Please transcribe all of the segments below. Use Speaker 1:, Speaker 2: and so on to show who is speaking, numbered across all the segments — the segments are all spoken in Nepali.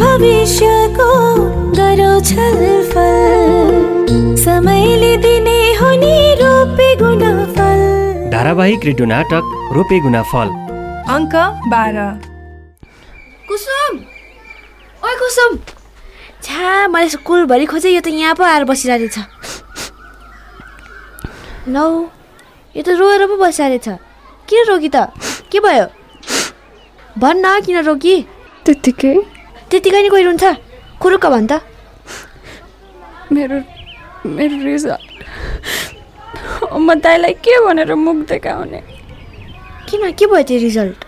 Speaker 1: भविष्यको गरौ छलफल समयले दिने हुने रोपे गुणफल
Speaker 2: धारावाहिक रेडियो नाटक रोपे गुनाफल
Speaker 3: अङ्क बाह्र
Speaker 4: कुसुम ओइ कुसुम छ्या मैले स्कुलभरि खोजेँ यो त यहाँ पो आएर बसिरहेको छ नौ यो त रोएर पो बसिरहेको छ किन रोकी त के भयो भन्न किन रोकी
Speaker 5: त्यत्तिकै
Speaker 4: त्यतिकै नि कोही रुन्छ कुरुक्क भन् त
Speaker 5: मेरो मेरो रिजल्ट म दाइलाई के भनेर मुख देखाउने
Speaker 4: किन के भयो त्यो रिजल्ट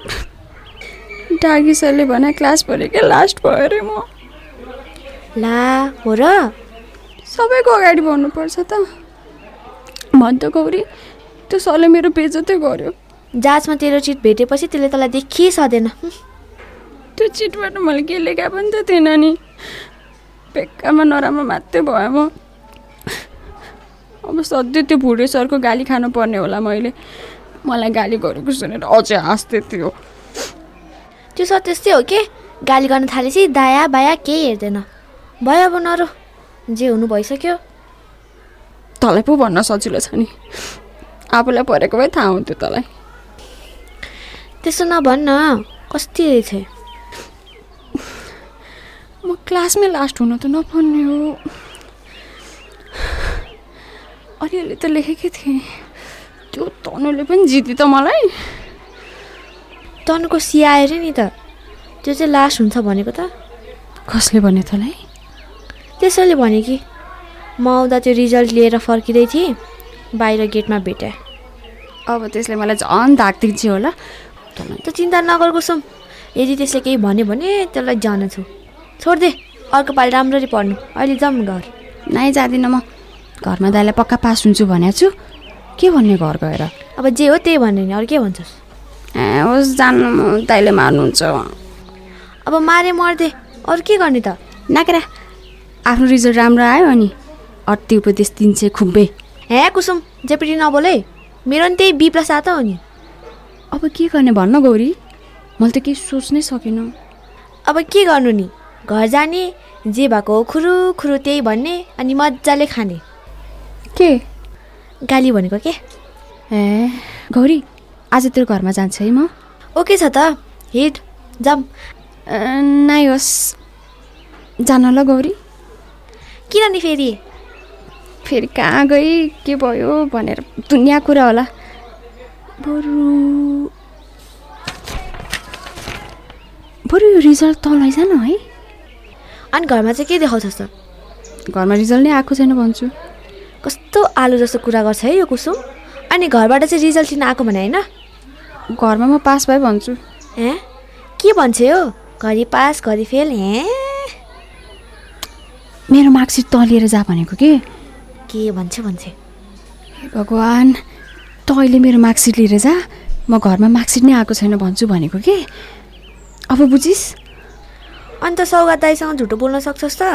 Speaker 5: डागी सरले भने क्लासभरि के लास्ट भयो अरे म
Speaker 4: ला हो र
Speaker 5: सबैको अगाडि भन्नुपर्छ त भन् त गौरी त्यो सरले मेरो बेजतै गर्यो
Speaker 4: जाँचमा तेरो चिट भेटेपछि त्यसले तँलाई देखि सधेन
Speaker 5: त्यो चिटबाट मैले के लेखा पनि त थिएन नि बेकारमा नराम्रो मात्रै भयो म अब सधैँ त्यो भुरे सरको गाली खानुपर्ने होला मैले मलाई गाली गरेको सुनेर अझै हाँस्दै थियो
Speaker 4: त्यो सर त्यस्तै हो के गाली गर्न थालेपछि दाया बाया केही हेर्दैन भयो अब नरो जे हुनु भइसक्यो
Speaker 5: तँलाई पो भन्न सजिलो छ नि आफूलाई परेको भए थाहा हुन्थ्यो तँलाई
Speaker 4: त्यस्तो नभन्न कस्तो रहेछ
Speaker 5: म क्लासमै लास्ट हुन त नपर्ने हो अलिअलि त लेखेकै थिएँ त्यो तनुले पनि जित्यो त मलाई
Speaker 4: तनको सिया आएर नि त त्यो चाहिँ लास्ट हुन्छ भनेको त
Speaker 5: कसले भन्यो तँलाई
Speaker 4: त्यसैले भने कि म आउँदा त्यो रिजल्ट लिएर फर्किँदै थिएँ बाहिर गेटमा भेटेँ
Speaker 5: अब त्यसले मलाई झन् धाक दिन्छ होला तँलाई
Speaker 4: त चिन्ता नगर कुसुम यदि त्यसले केही भन्यो भने त्यसलाई जान छु छोडिदे अर्को पालि राम्ररी पढ्नु अहिले जाऊँ घर
Speaker 5: नाइ जाँदिनँ म घरमा दाइलाई पक्का पास हुन्छु भनेको छु के भन्ने घर गएर
Speaker 4: अब जे हो त्यही भन्यो नि अरू के भन्छस्
Speaker 5: ए होस् जानु म- दाइले मार्नुहुन्छ
Speaker 4: अब मारे मर्दे अरू के गर्ने त
Speaker 5: नाकेरा आफ्नो रिजल्ट राम्रो आयो अनि अति उपदेश दिन्छ खुब्बे
Speaker 4: हे कुसुम जेपिटी नबोलै मेरो नि त्यही बी प्लस आएको हो नि
Speaker 5: अब के गर्ने भन्न गौरी मैले त केही सोच्नै सकिनँ
Speaker 4: अब के गर्नु नि घर जाने जे भएको हो खुरु खुरु त्यही भन्ने अनि मजाले खाने
Speaker 5: के
Speaker 4: गाली भनेको के
Speaker 5: ए गौरी आज तेरो घरमा जान्छ है म
Speaker 4: ओके छ त हिट जाम
Speaker 5: नाइ होस् जान ल गौरी
Speaker 4: किन नि फेरि
Speaker 5: फेरि कहाँ गई के भयो भनेर दुनियाँ कुरा होला बरु बरु यो रिजल्ट तँ लैजान है
Speaker 4: अनि घरमा चाहिँ के देखाउँछस् त
Speaker 5: घरमा रिजल्ट नै आएको छैन भन्छु
Speaker 4: कस्तो आलु जस्तो कुरा गर्छ है यो कुसुम अनि घरबाट चाहिँ रिजल्ट लिन आएको भने होइन
Speaker 5: घरमा म पास भए भन्छु
Speaker 4: ए के भन्छ यो घरि पास घरि फेल हे
Speaker 5: मेरो मार्कसिट तँ लिएर जा भनेको के
Speaker 4: के भन्छ भन्छ
Speaker 5: भगवान् त अहिले मेरो मार्कसिट लिएर जा म घरमा मार्कसिट नै आएको छैन भन्छु भनेको के अब बुझिस्
Speaker 4: अन्त सौगात दाईसँग झुटो बोल्न सक्छस् त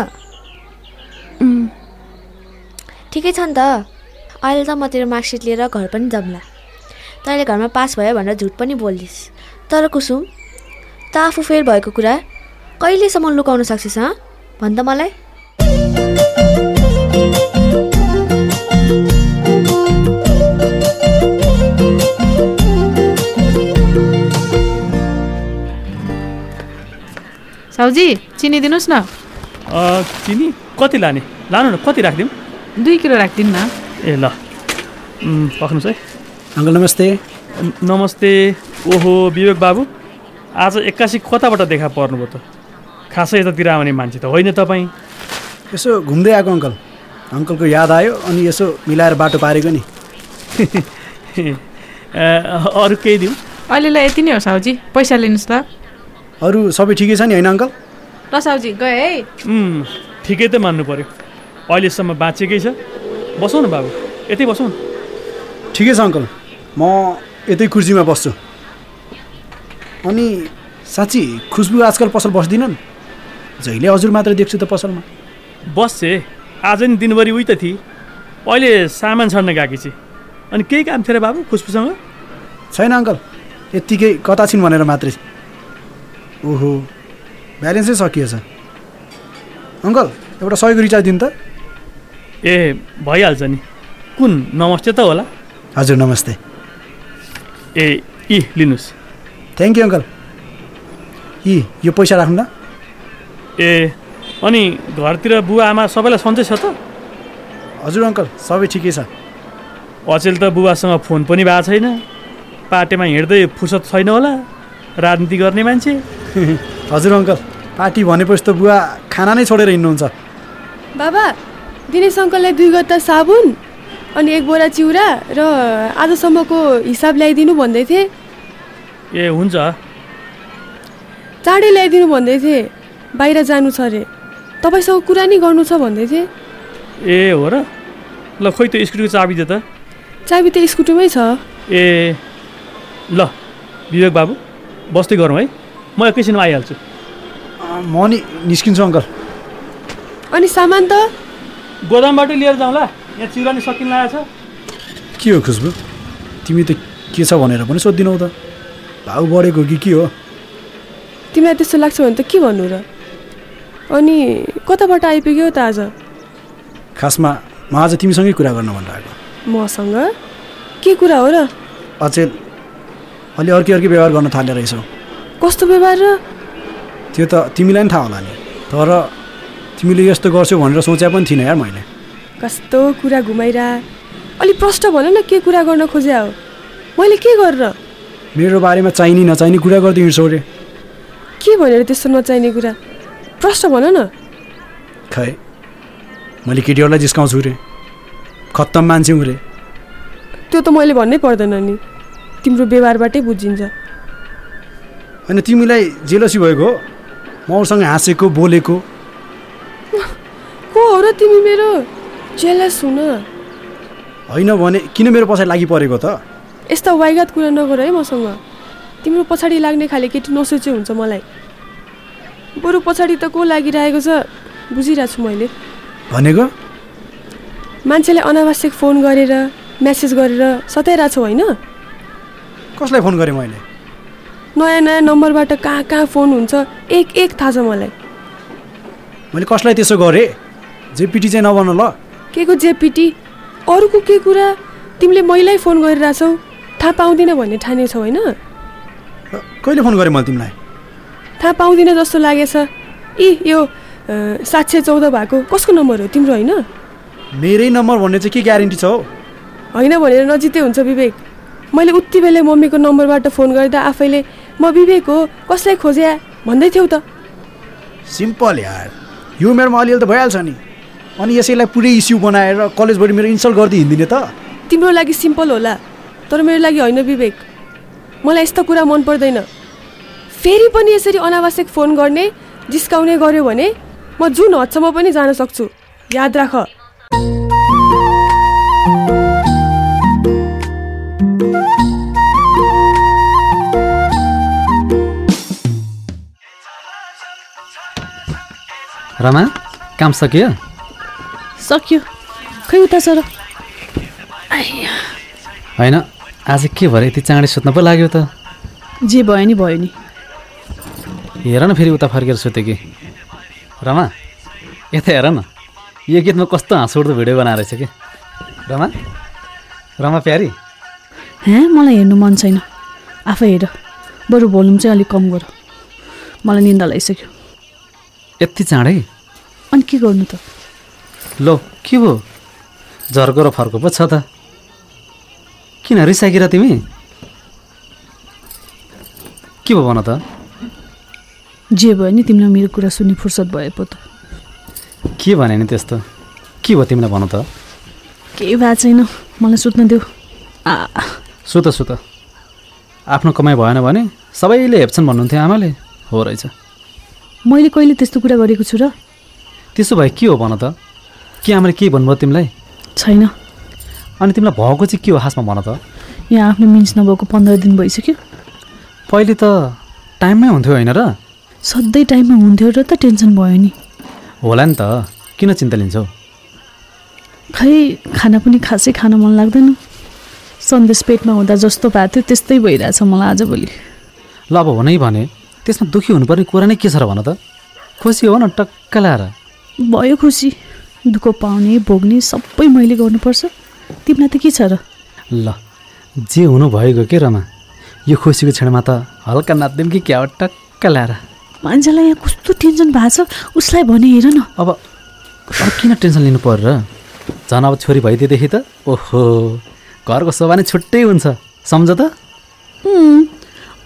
Speaker 5: उम्,
Speaker 4: ठिकै छ नि त अहिले त म तेरो मार्कसिट लिएर घर पनि जम्ला तैँले घरमा पास भयो भनेर झुट पनि बोलिस् तर कुसुम त आफू फेल भएको कुरा कहिलेसम्म लुकाउन सक्छस् हँ भन त मलाई
Speaker 6: साउजी चिनी दिनुहोस् न
Speaker 2: अ, चिनी कति लाने लानु न कति राखिदिउँ
Speaker 6: दुई किलो राखिदिनु न
Speaker 2: ए ल उम्, राख्नुहोस् है
Speaker 7: अङ्कल नमस्ते
Speaker 2: उम्, नमस्ते ओहो विवेक बाबु आज एक्कासी कताबाट देखा पर्नुभयो त खासै यतातिर आउने मान्छे त होइन तपाईँ
Speaker 7: यसो घुम्दै आएको अङ्कल अङ्कलको याद आयो अनि यसो मिलाएर बाटो पारेको नि
Speaker 2: अ, अरू केही दिउँ
Speaker 6: अहिलेलाई यति नै हो साउजी पैसा लिनुहोस् ल
Speaker 7: अरू सबै ठिकै छ नि होइन अङ्कल
Speaker 6: ल साउजी गएँ है
Speaker 2: उम्, ठिकै त मान्नु पऱ्यो अहिलेसम्म बाँचेकै छ बसौँ न बाबु यतै बसौँ न
Speaker 7: ठिकै छ अङ्कल म यतै कुर्सीमा बस्छु अनि साँच्ची खुसबु आजकल पसल बस्दिनन् जहिले हजुर मात्र देख्छु त पसलमा
Speaker 2: बस छे आज नि दिनभरि उही त थिए अहिले सामान छर्न गएकी छि अनि केही काम थियो र बाबु खुसबुसँग
Speaker 7: छैन अङ्कल यत्तिकै कता छिन् भनेर मात्रै ओहो ब्यालेन्सै सकिएछ अङ्कल एउटा सयको रिचार्ज दिनु त
Speaker 2: ए भइहाल्छ नि कुन नमस्ते त होला
Speaker 7: हजुर नमस्ते
Speaker 2: ए यी लिनुहोस्
Speaker 7: थ्याङ्क यू अङ्कल यी यो पैसा राख्नु ल
Speaker 2: ए अनि घरतिर बुवा आमा सबैलाई सन्चै छ त
Speaker 7: हजुर अङ्कल सबै ठिकै छ
Speaker 2: अचेल त बुवासँग फोन पनि भएको छैन पाटेमा हिँड्दै फुर्सद छैन होला राजनीति गर्ने मान्छे
Speaker 7: हजुर अङ्कल पार्टी भनेपछि त बुवा खाना नै छोडेर हिँड्नुहुन्छ
Speaker 8: बाबा दिनेश अङ्कललाई दुई गत्ता साबुन अनि एक बोरा चिउरा र आजसम्मको हिसाब ल्याइदिनु भन्दै थिए
Speaker 2: ए हुन्छ
Speaker 8: चाँडै ल्याइदिनु भन्दै थिए बाहिर जानु छ अरे तपाईँसँग कुरा नि गर्नु छ भन्दै थिए
Speaker 2: ए हो र ल खोइ त्यो स्कुटीको चाबी दियो त
Speaker 8: चाबी त स्कुटीमै छ
Speaker 2: ए ल विवेक बाबु बस्दै गरौँ है म एकैछिनमा आइहाल्छु
Speaker 7: अँ, म नि निस्किन्छु अङ्कल
Speaker 8: अनि सामान त
Speaker 2: गोदामबाटै लिएर जाउँला यहाँ चिरानी सकिन लागेको छ
Speaker 7: के हो खुसबु तिमी त के छ भनेर पनि सोधिदिनौ त भाउ बढेको कि के हो
Speaker 8: तिमीलाई त्यस्तो लाग्छ भने त के भन्नु र अनि कताबाट आइपुग्यो त आज
Speaker 7: खासमा म आज तिमीसँगै कुरा गर्न भनिरहेको
Speaker 8: मसँग के कुरा हो र
Speaker 7: अचेल अलि अर्कै अर्कै व्यवहार गर्न थाले रहेछौ
Speaker 8: कस्तो व्यवहार र
Speaker 7: त्यो त तिमीलाई नि थाहा होला नि तर तिमीले यस्तो गर्छौ भनेर सोचे पनि थिइनँ यार मैले
Speaker 8: कस्तो कुरा घुमाइरा अलि प्रष्ट भन न के कुरा गर्न खोजे हो मैले के गरेर
Speaker 7: मेरो बारेमा चाहिने नचाहिने कुरा गर्दै हिँड्छौ रे
Speaker 8: के भनेर त्यस्तो नचाहिने कुरा प्रश्न भन न
Speaker 7: खै मैले केटीहरूलाई जिस्काउँछु रे खत्तम मान्छे हुँ रे
Speaker 8: त्यो त मैले भन्नै पर्दैन नि तिम्रो व्यवहारबाटै बुझिन्छ
Speaker 7: होइन तिमीलाई जेलसी भएको हो म उसँग हाँसेको बोलेको
Speaker 8: को हो र तिमी मेरो जेलस हुन
Speaker 7: होइन भने किन मेरो पछाडि लागि परेको त
Speaker 8: यस्ता वाइगात कुरा नगर है मसँग तिम्रो पछाडि लाग्ने खाले केटी नसोचे हुन्छ मलाई बरु पछाडि त को लागिरहेको छ बुझिरहेको छु मैले
Speaker 7: भनेको
Speaker 8: मान्छेलाई अनावश्यक फोन गरेर म्यासेज गरेर सताइरहेको छौ होइन
Speaker 7: कसलाई फोन गरेँ मैले
Speaker 8: नयाँ नयाँ नम्बरबाट कहाँ कहाँ फोन हुन्छ एक एक थाहा छ मलाई
Speaker 7: मैले कसलाई त्यसो गरेँ जेपिटी चाहिँ नबन ल
Speaker 8: के को जेपिटी अरूको के कुरा तिमीले मैलाई फोन गरिरहेछौ थाहा पाउँदिन भन्ने ठानेछौ होइन
Speaker 7: अ, कहिले फोन गरेँ मैले तिमीलाई
Speaker 8: थाहा पाउँदिन जस्तो लागेछ यी यो अ, सात सय चौध भएको कसको नम्बर हो तिम्रो होइन
Speaker 7: मेरै नम्बर भन्ने चाहिँ के ग्यारेन्टी छ हौ
Speaker 8: होइन भनेर नजिते हुन्छ विवेक मैले उति बेला मम्मीको नम्बरबाट फोन गर्दा आफैले म विवेक हो कसलाई खोज्या भन्दै थियौ त
Speaker 7: सिम्पल यार यो मेरोमा अलिअलि त भइहाल्छ नि अनि यसैलाई पुरै इस्यु बनाएर कलेजबाट मेरो इन्सल्ट गर्दै हिँडिदिने त
Speaker 8: तिम्रो लागि सिम्पल होला तर मेरो लागि होइन विवेक मलाई यस्तो कुरा मन पर्दैन फेरि पनि यसरी अनावश्यक फोन गर्ने जिस्काउने गर्यो भने म जुन हदसम्म पनि जान सक्छु याद राख
Speaker 9: रमा काम सकियो
Speaker 6: सक्यो खै उता सर
Speaker 9: होइन आज के भएर यति चाँडै सुत्न पो लाग्यो त
Speaker 6: जे भयो नि भयो नि
Speaker 9: हेर न फेरि उता फर्केर सुत्यो कि रमा यता हेर न यो गीतमा कस्तो हाँस उठ्दो भिडियो बनाएर रहेछ कि रमा रमा प्यारी
Speaker 10: हाँ मलाई हेर्नु मन छैन आफै हेर बरु भोल्युम चाहिँ अलिक कम गर मलाई निन्दा लगाइसक्यो
Speaker 9: यति चाँडै
Speaker 10: अनि के गर्नु त
Speaker 9: ल के भयो झर्को र फर्को पो छ त किन रिसाइकिर तिमी के भयो भन त
Speaker 10: जे भयो नि तिमीलाई मेरो कुरा सुन्ने फुर्सद भए पो त
Speaker 9: के भने नि त्यस्तो के भयो तिमीलाई भन त
Speaker 10: केही भएको छैन मलाई सुत्न देऊ आ
Speaker 9: सुत सुत आफ्नो कमाइ भएन भने सबैले हेप्छन् भन्नुहुन्थ्यो आमाले हो रहेछ
Speaker 10: मैले कहिले त्यस्तो कुरा गरेको छु र
Speaker 9: त्यसो भए के हो भन त के आमाले के भन्नुभयो तिमीलाई
Speaker 10: छैन
Speaker 9: अनि तिमीलाई भएको चाहिँ के हो खासमा भन त
Speaker 10: यहाँ आफ्नो मिन्स नभएको पन्ध्र दिन भइसक्यो
Speaker 9: पहिले त टाइममै हुन्थ्यो होइन र
Speaker 10: सधैँ टाइममा हुन्थ्यो र त टेन्सन भयो नि
Speaker 9: होला नि त किन चिन्ता लिन्छौ
Speaker 10: खै खाना पनि खासै खान मन लाग्दैन सन्देश पेटमा हुँदा जस्तो भएको थियो त्यस्तै भइरहेछ मलाई आजभोलि
Speaker 9: ल अब हुनै भने त्यसमा दुःखी हुनुपर्ने कुरा नै के छ र भन त खुसी हो न टक्क लाएर
Speaker 10: भयो खुसी दुःख पाउने भोग्ने सबै मैले गर्नुपर्छ तिमीलाई त के छ र
Speaker 9: ल जे हुनुभएको के रमा यो खुसीको क्षणमा त हल्का नाच्दिउँ कि क्या हो, टक्क ल्याएर
Speaker 10: मान्छेलाई यहाँ कस्तो टेन्सन भएको छ उसलाई भने हेर न
Speaker 9: अब अब किन टेन्सन लिनु पर्यो र झन् अब छोरी भइदिएदेखि त ओहो घरको शोभा नै छुट्टै हुन्छ सम्झ त
Speaker 10: उम्,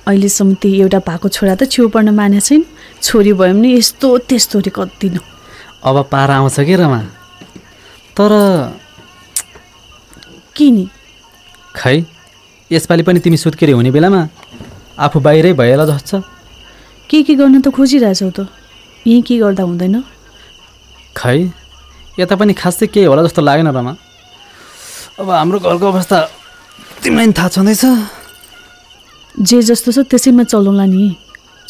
Speaker 10: अहिलेसम्म त्यही एउटा भएको छोरा त छेउ पर्न माने छैन छोरी भयो भने यस्तो त्यस्तो रे कति न
Speaker 9: अब पारा आउँछ कि रमा तर
Speaker 10: किन
Speaker 9: खै यसपालि पनि तिमी सुत्केरी हुने बेलामा आफू बाहिरै भएला जस्तो छ
Speaker 10: के के गर्न त खोजिरहेछौ त यहीँ के गर्दा हुँदैन
Speaker 9: खै यता पनि खासै केही होला जस्तो लागेन रमा अब हाम्रो घरको अवस्था तिमीलाई नि थाहा छँदैछ
Speaker 10: जे जस्तो छ त्यसैमा चलाउँला नि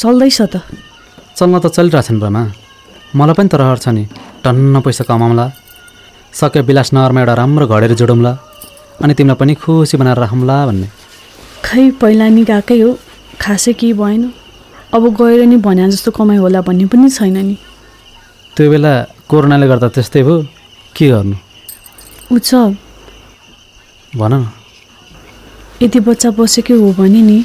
Speaker 10: चल्दैछ त
Speaker 9: चल्न त चलिरहेछन् रमा मलाई पनि त रहर छ नि टन्न पैसा कमाउँला सके विलास नगरमा एउटा राम्रो घडेर जोडौँला अनि तिमीलाई पनि खुसी बनाएर राखौँला भन्ने
Speaker 10: खै पहिला नि गएकै हो खासै केही भएन अब गएर नि भने जस्तो कमाइ होला भन्ने पनि छैन नि
Speaker 9: त्यो बेला कोरोनाले गर्दा त्यस्तै भयो के गर्नु
Speaker 10: उत्सव
Speaker 9: भन न
Speaker 10: यदि बच्चा बसेकै हो भने नि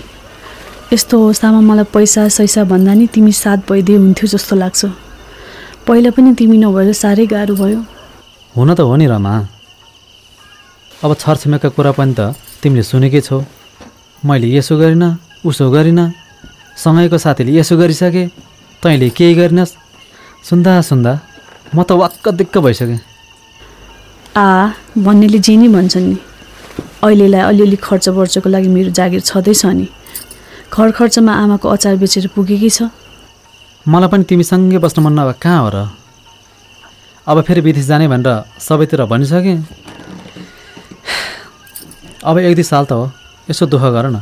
Speaker 10: यस्तो अवस्थामा मलाई पैसा सैसा भन्दा नि तिमी साथ भइदिए हुन्थ्यो जस्तो लाग्छ पहिला पनि तिमी नभएर साह्रै गाह्रो भयो
Speaker 9: हुन त हो नि रमा अब छरछिमेकका कुरा पनि त तिमीले सुनेकै छौ मैले यसो गरिनँ उसो गरिनँ सँगैको साथीले यसो गरिसके तैँले केही गरिनस् सुन्दा सुन्दा म त वाक्क दिक्क भइसकेँ
Speaker 10: आ भन्नेले जे नि भन्छन् नि अहिलेलाई अलिअलि खर्च वर्चको लागि मेरो जागिर छँदैछ नि घर खर्चमा आमाको अचार बेचेर पुगेकै छ
Speaker 9: मलाई पनि तिमीसँगै बस्नु मन नभए कहाँ हो र अब फेरि विदेश जाने भनेर सबैतिर भनिसकेँ अब एक दुई साल त हो यसो दुःख गर न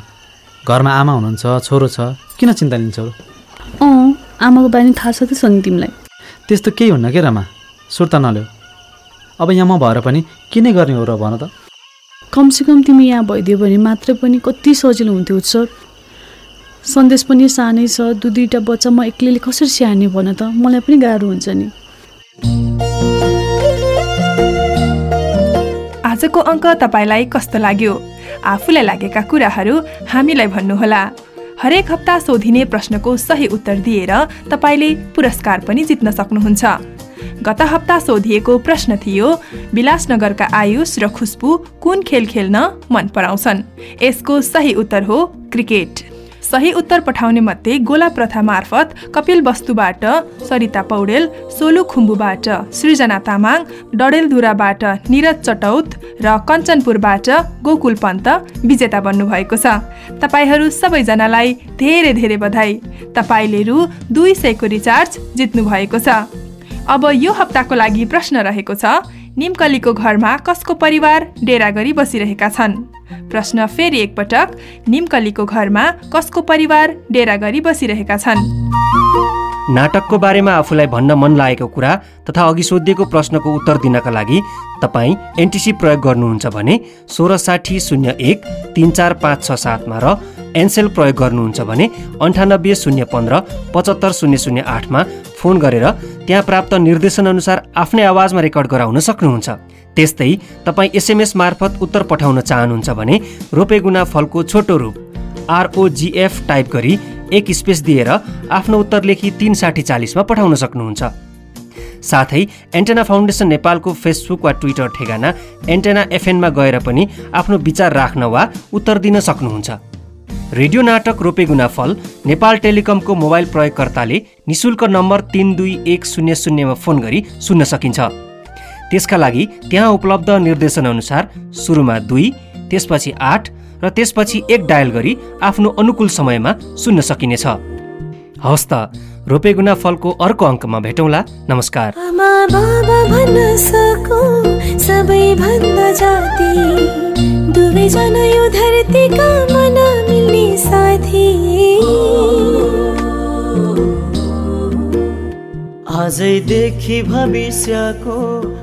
Speaker 9: घरमा आमा हुनुहुन्छ छोरो छ किन चिन्ता लिन्छौ
Speaker 10: अँ आमाको बारेमा थाहा छ त छ नि तिमीलाई
Speaker 9: त्यस्तो केही हुन्न के रमा सुर्ता नल्याऊ अब यहाँ म भएर पनि किन गर्ने हो र भन त
Speaker 10: कमसेकम तिमी यहाँ भइदियो भने मात्र पनि कति सजिलो हुन्थ्यो उत्सव सन्देश पनि सानै छ दुई दुईवटा बच्चा म एक्लैले कसरी स्याहार्ने भन त मलाई पनि गाह्रो हुन्छ नि
Speaker 3: आजको अङ्क तपाईँलाई कस्तो लाग्यो आफूलाई लागेका कुराहरू हामीलाई भन्नुहोला हरेक हप्ता सोधिने प्रश्नको सही उत्तर दिएर तपाईँले पुरस्कार पनि जित्न सक्नुहुन्छ गत हप्ता सोधिएको प्रश्न थियो विलासनगरका आयुष र खुसबु कुन खेल खेल्न मन पराउँछन् यसको सही उत्तर हो क्रिकेट सही उत्तर पठाउने मध्ये गोला प्रथा मार्फत कपिल वस्तुबाट सरिता पौडेल सोलु खुम्बुबाट सृजना तामाङ डडेलधुराबाट निरज चटौत र कञ्चनपुरबाट गोकुल पन्त विजेता बन्नुभएको छ तपाईँहरू सबैजनालाई धेरै धेरै बधाई तपाईँले रु दुई सयको रिचार्ज जित्नुभएको छ अब यो हप्ताको लागि प्रश्न रहेको छ निम्कलीको घरमा कसको परिवार डेरा गरी बसिरहेका छन् प्रश्न फेरि एकपटक निम्कलीको घरमा कसको परिवार डेरा गरी बसिरहेका छन्
Speaker 11: नाटकको बारेमा आफूलाई भन्न मन लागेको कुरा तथा अघि सोधिएको प्रश्नको उत्तर दिनका लागि तपाईँ एनटिसी प्रयोग गर्नुहुन्छ भने सोह्र साठी शून्य एक तिन चार पाँच छ सातमा र एनसेल प्रयोग गर्नुहुन्छ भने अन्ठानब्बे शून्य पन्ध्र पचहत्तर शून्य शून्य आठमा फोन गरेर त्यहाँ प्राप्त निर्देशनअनुसार आफ्नै आवाजमा रेकर्ड गराउन सक्नुहुन्छ त्यस्तै तपाईँ एसएमएस मार्फत उत्तर पठाउन चाहनुहुन्छ भने रोपेगुना फलको छोटो रूप आरओजिएफ टाइप गरी एक स्पेस दिएर आफ्नो उत्तर लेखी तिन साठी चालिसमा पठाउन सक्नुहुन्छ साथै एन्टेना फाउन्डेसन नेपालको फेसबुक वा ट्विटर ठेगाना एन्टेना एफएनमा गएर पनि आफ्नो विचार राख्न वा उत्तर दिन सक्नुहुन्छ रेडियो नाटक रोपेगुना फल नेपाल टेलिकमको मोबाइल प्रयोगकर्ताले निशुल्क नम्बर तिन दुई एक शून्य शून्यमा फोन गरी सुन्न सकिन्छ त्यसका लागि त्यहाँ उपलब्ध निर्देशनअनुसार सुरुमा दुई त्यसपछि आठ र त्यसपछि एक डायल गरी आफ्नो अनुकूल समयमा सुन्न सकिनेछ हवस् त रोपेगुना फलको अर्को अङ्कमा भेटौँला नमस्कार
Speaker 1: आमा बाबा भन्न सकौँ सबैभन्दा जाति दुवैजना यो धरतीका मन मिल्ने साथी
Speaker 12: आजैदेखि भविष्यको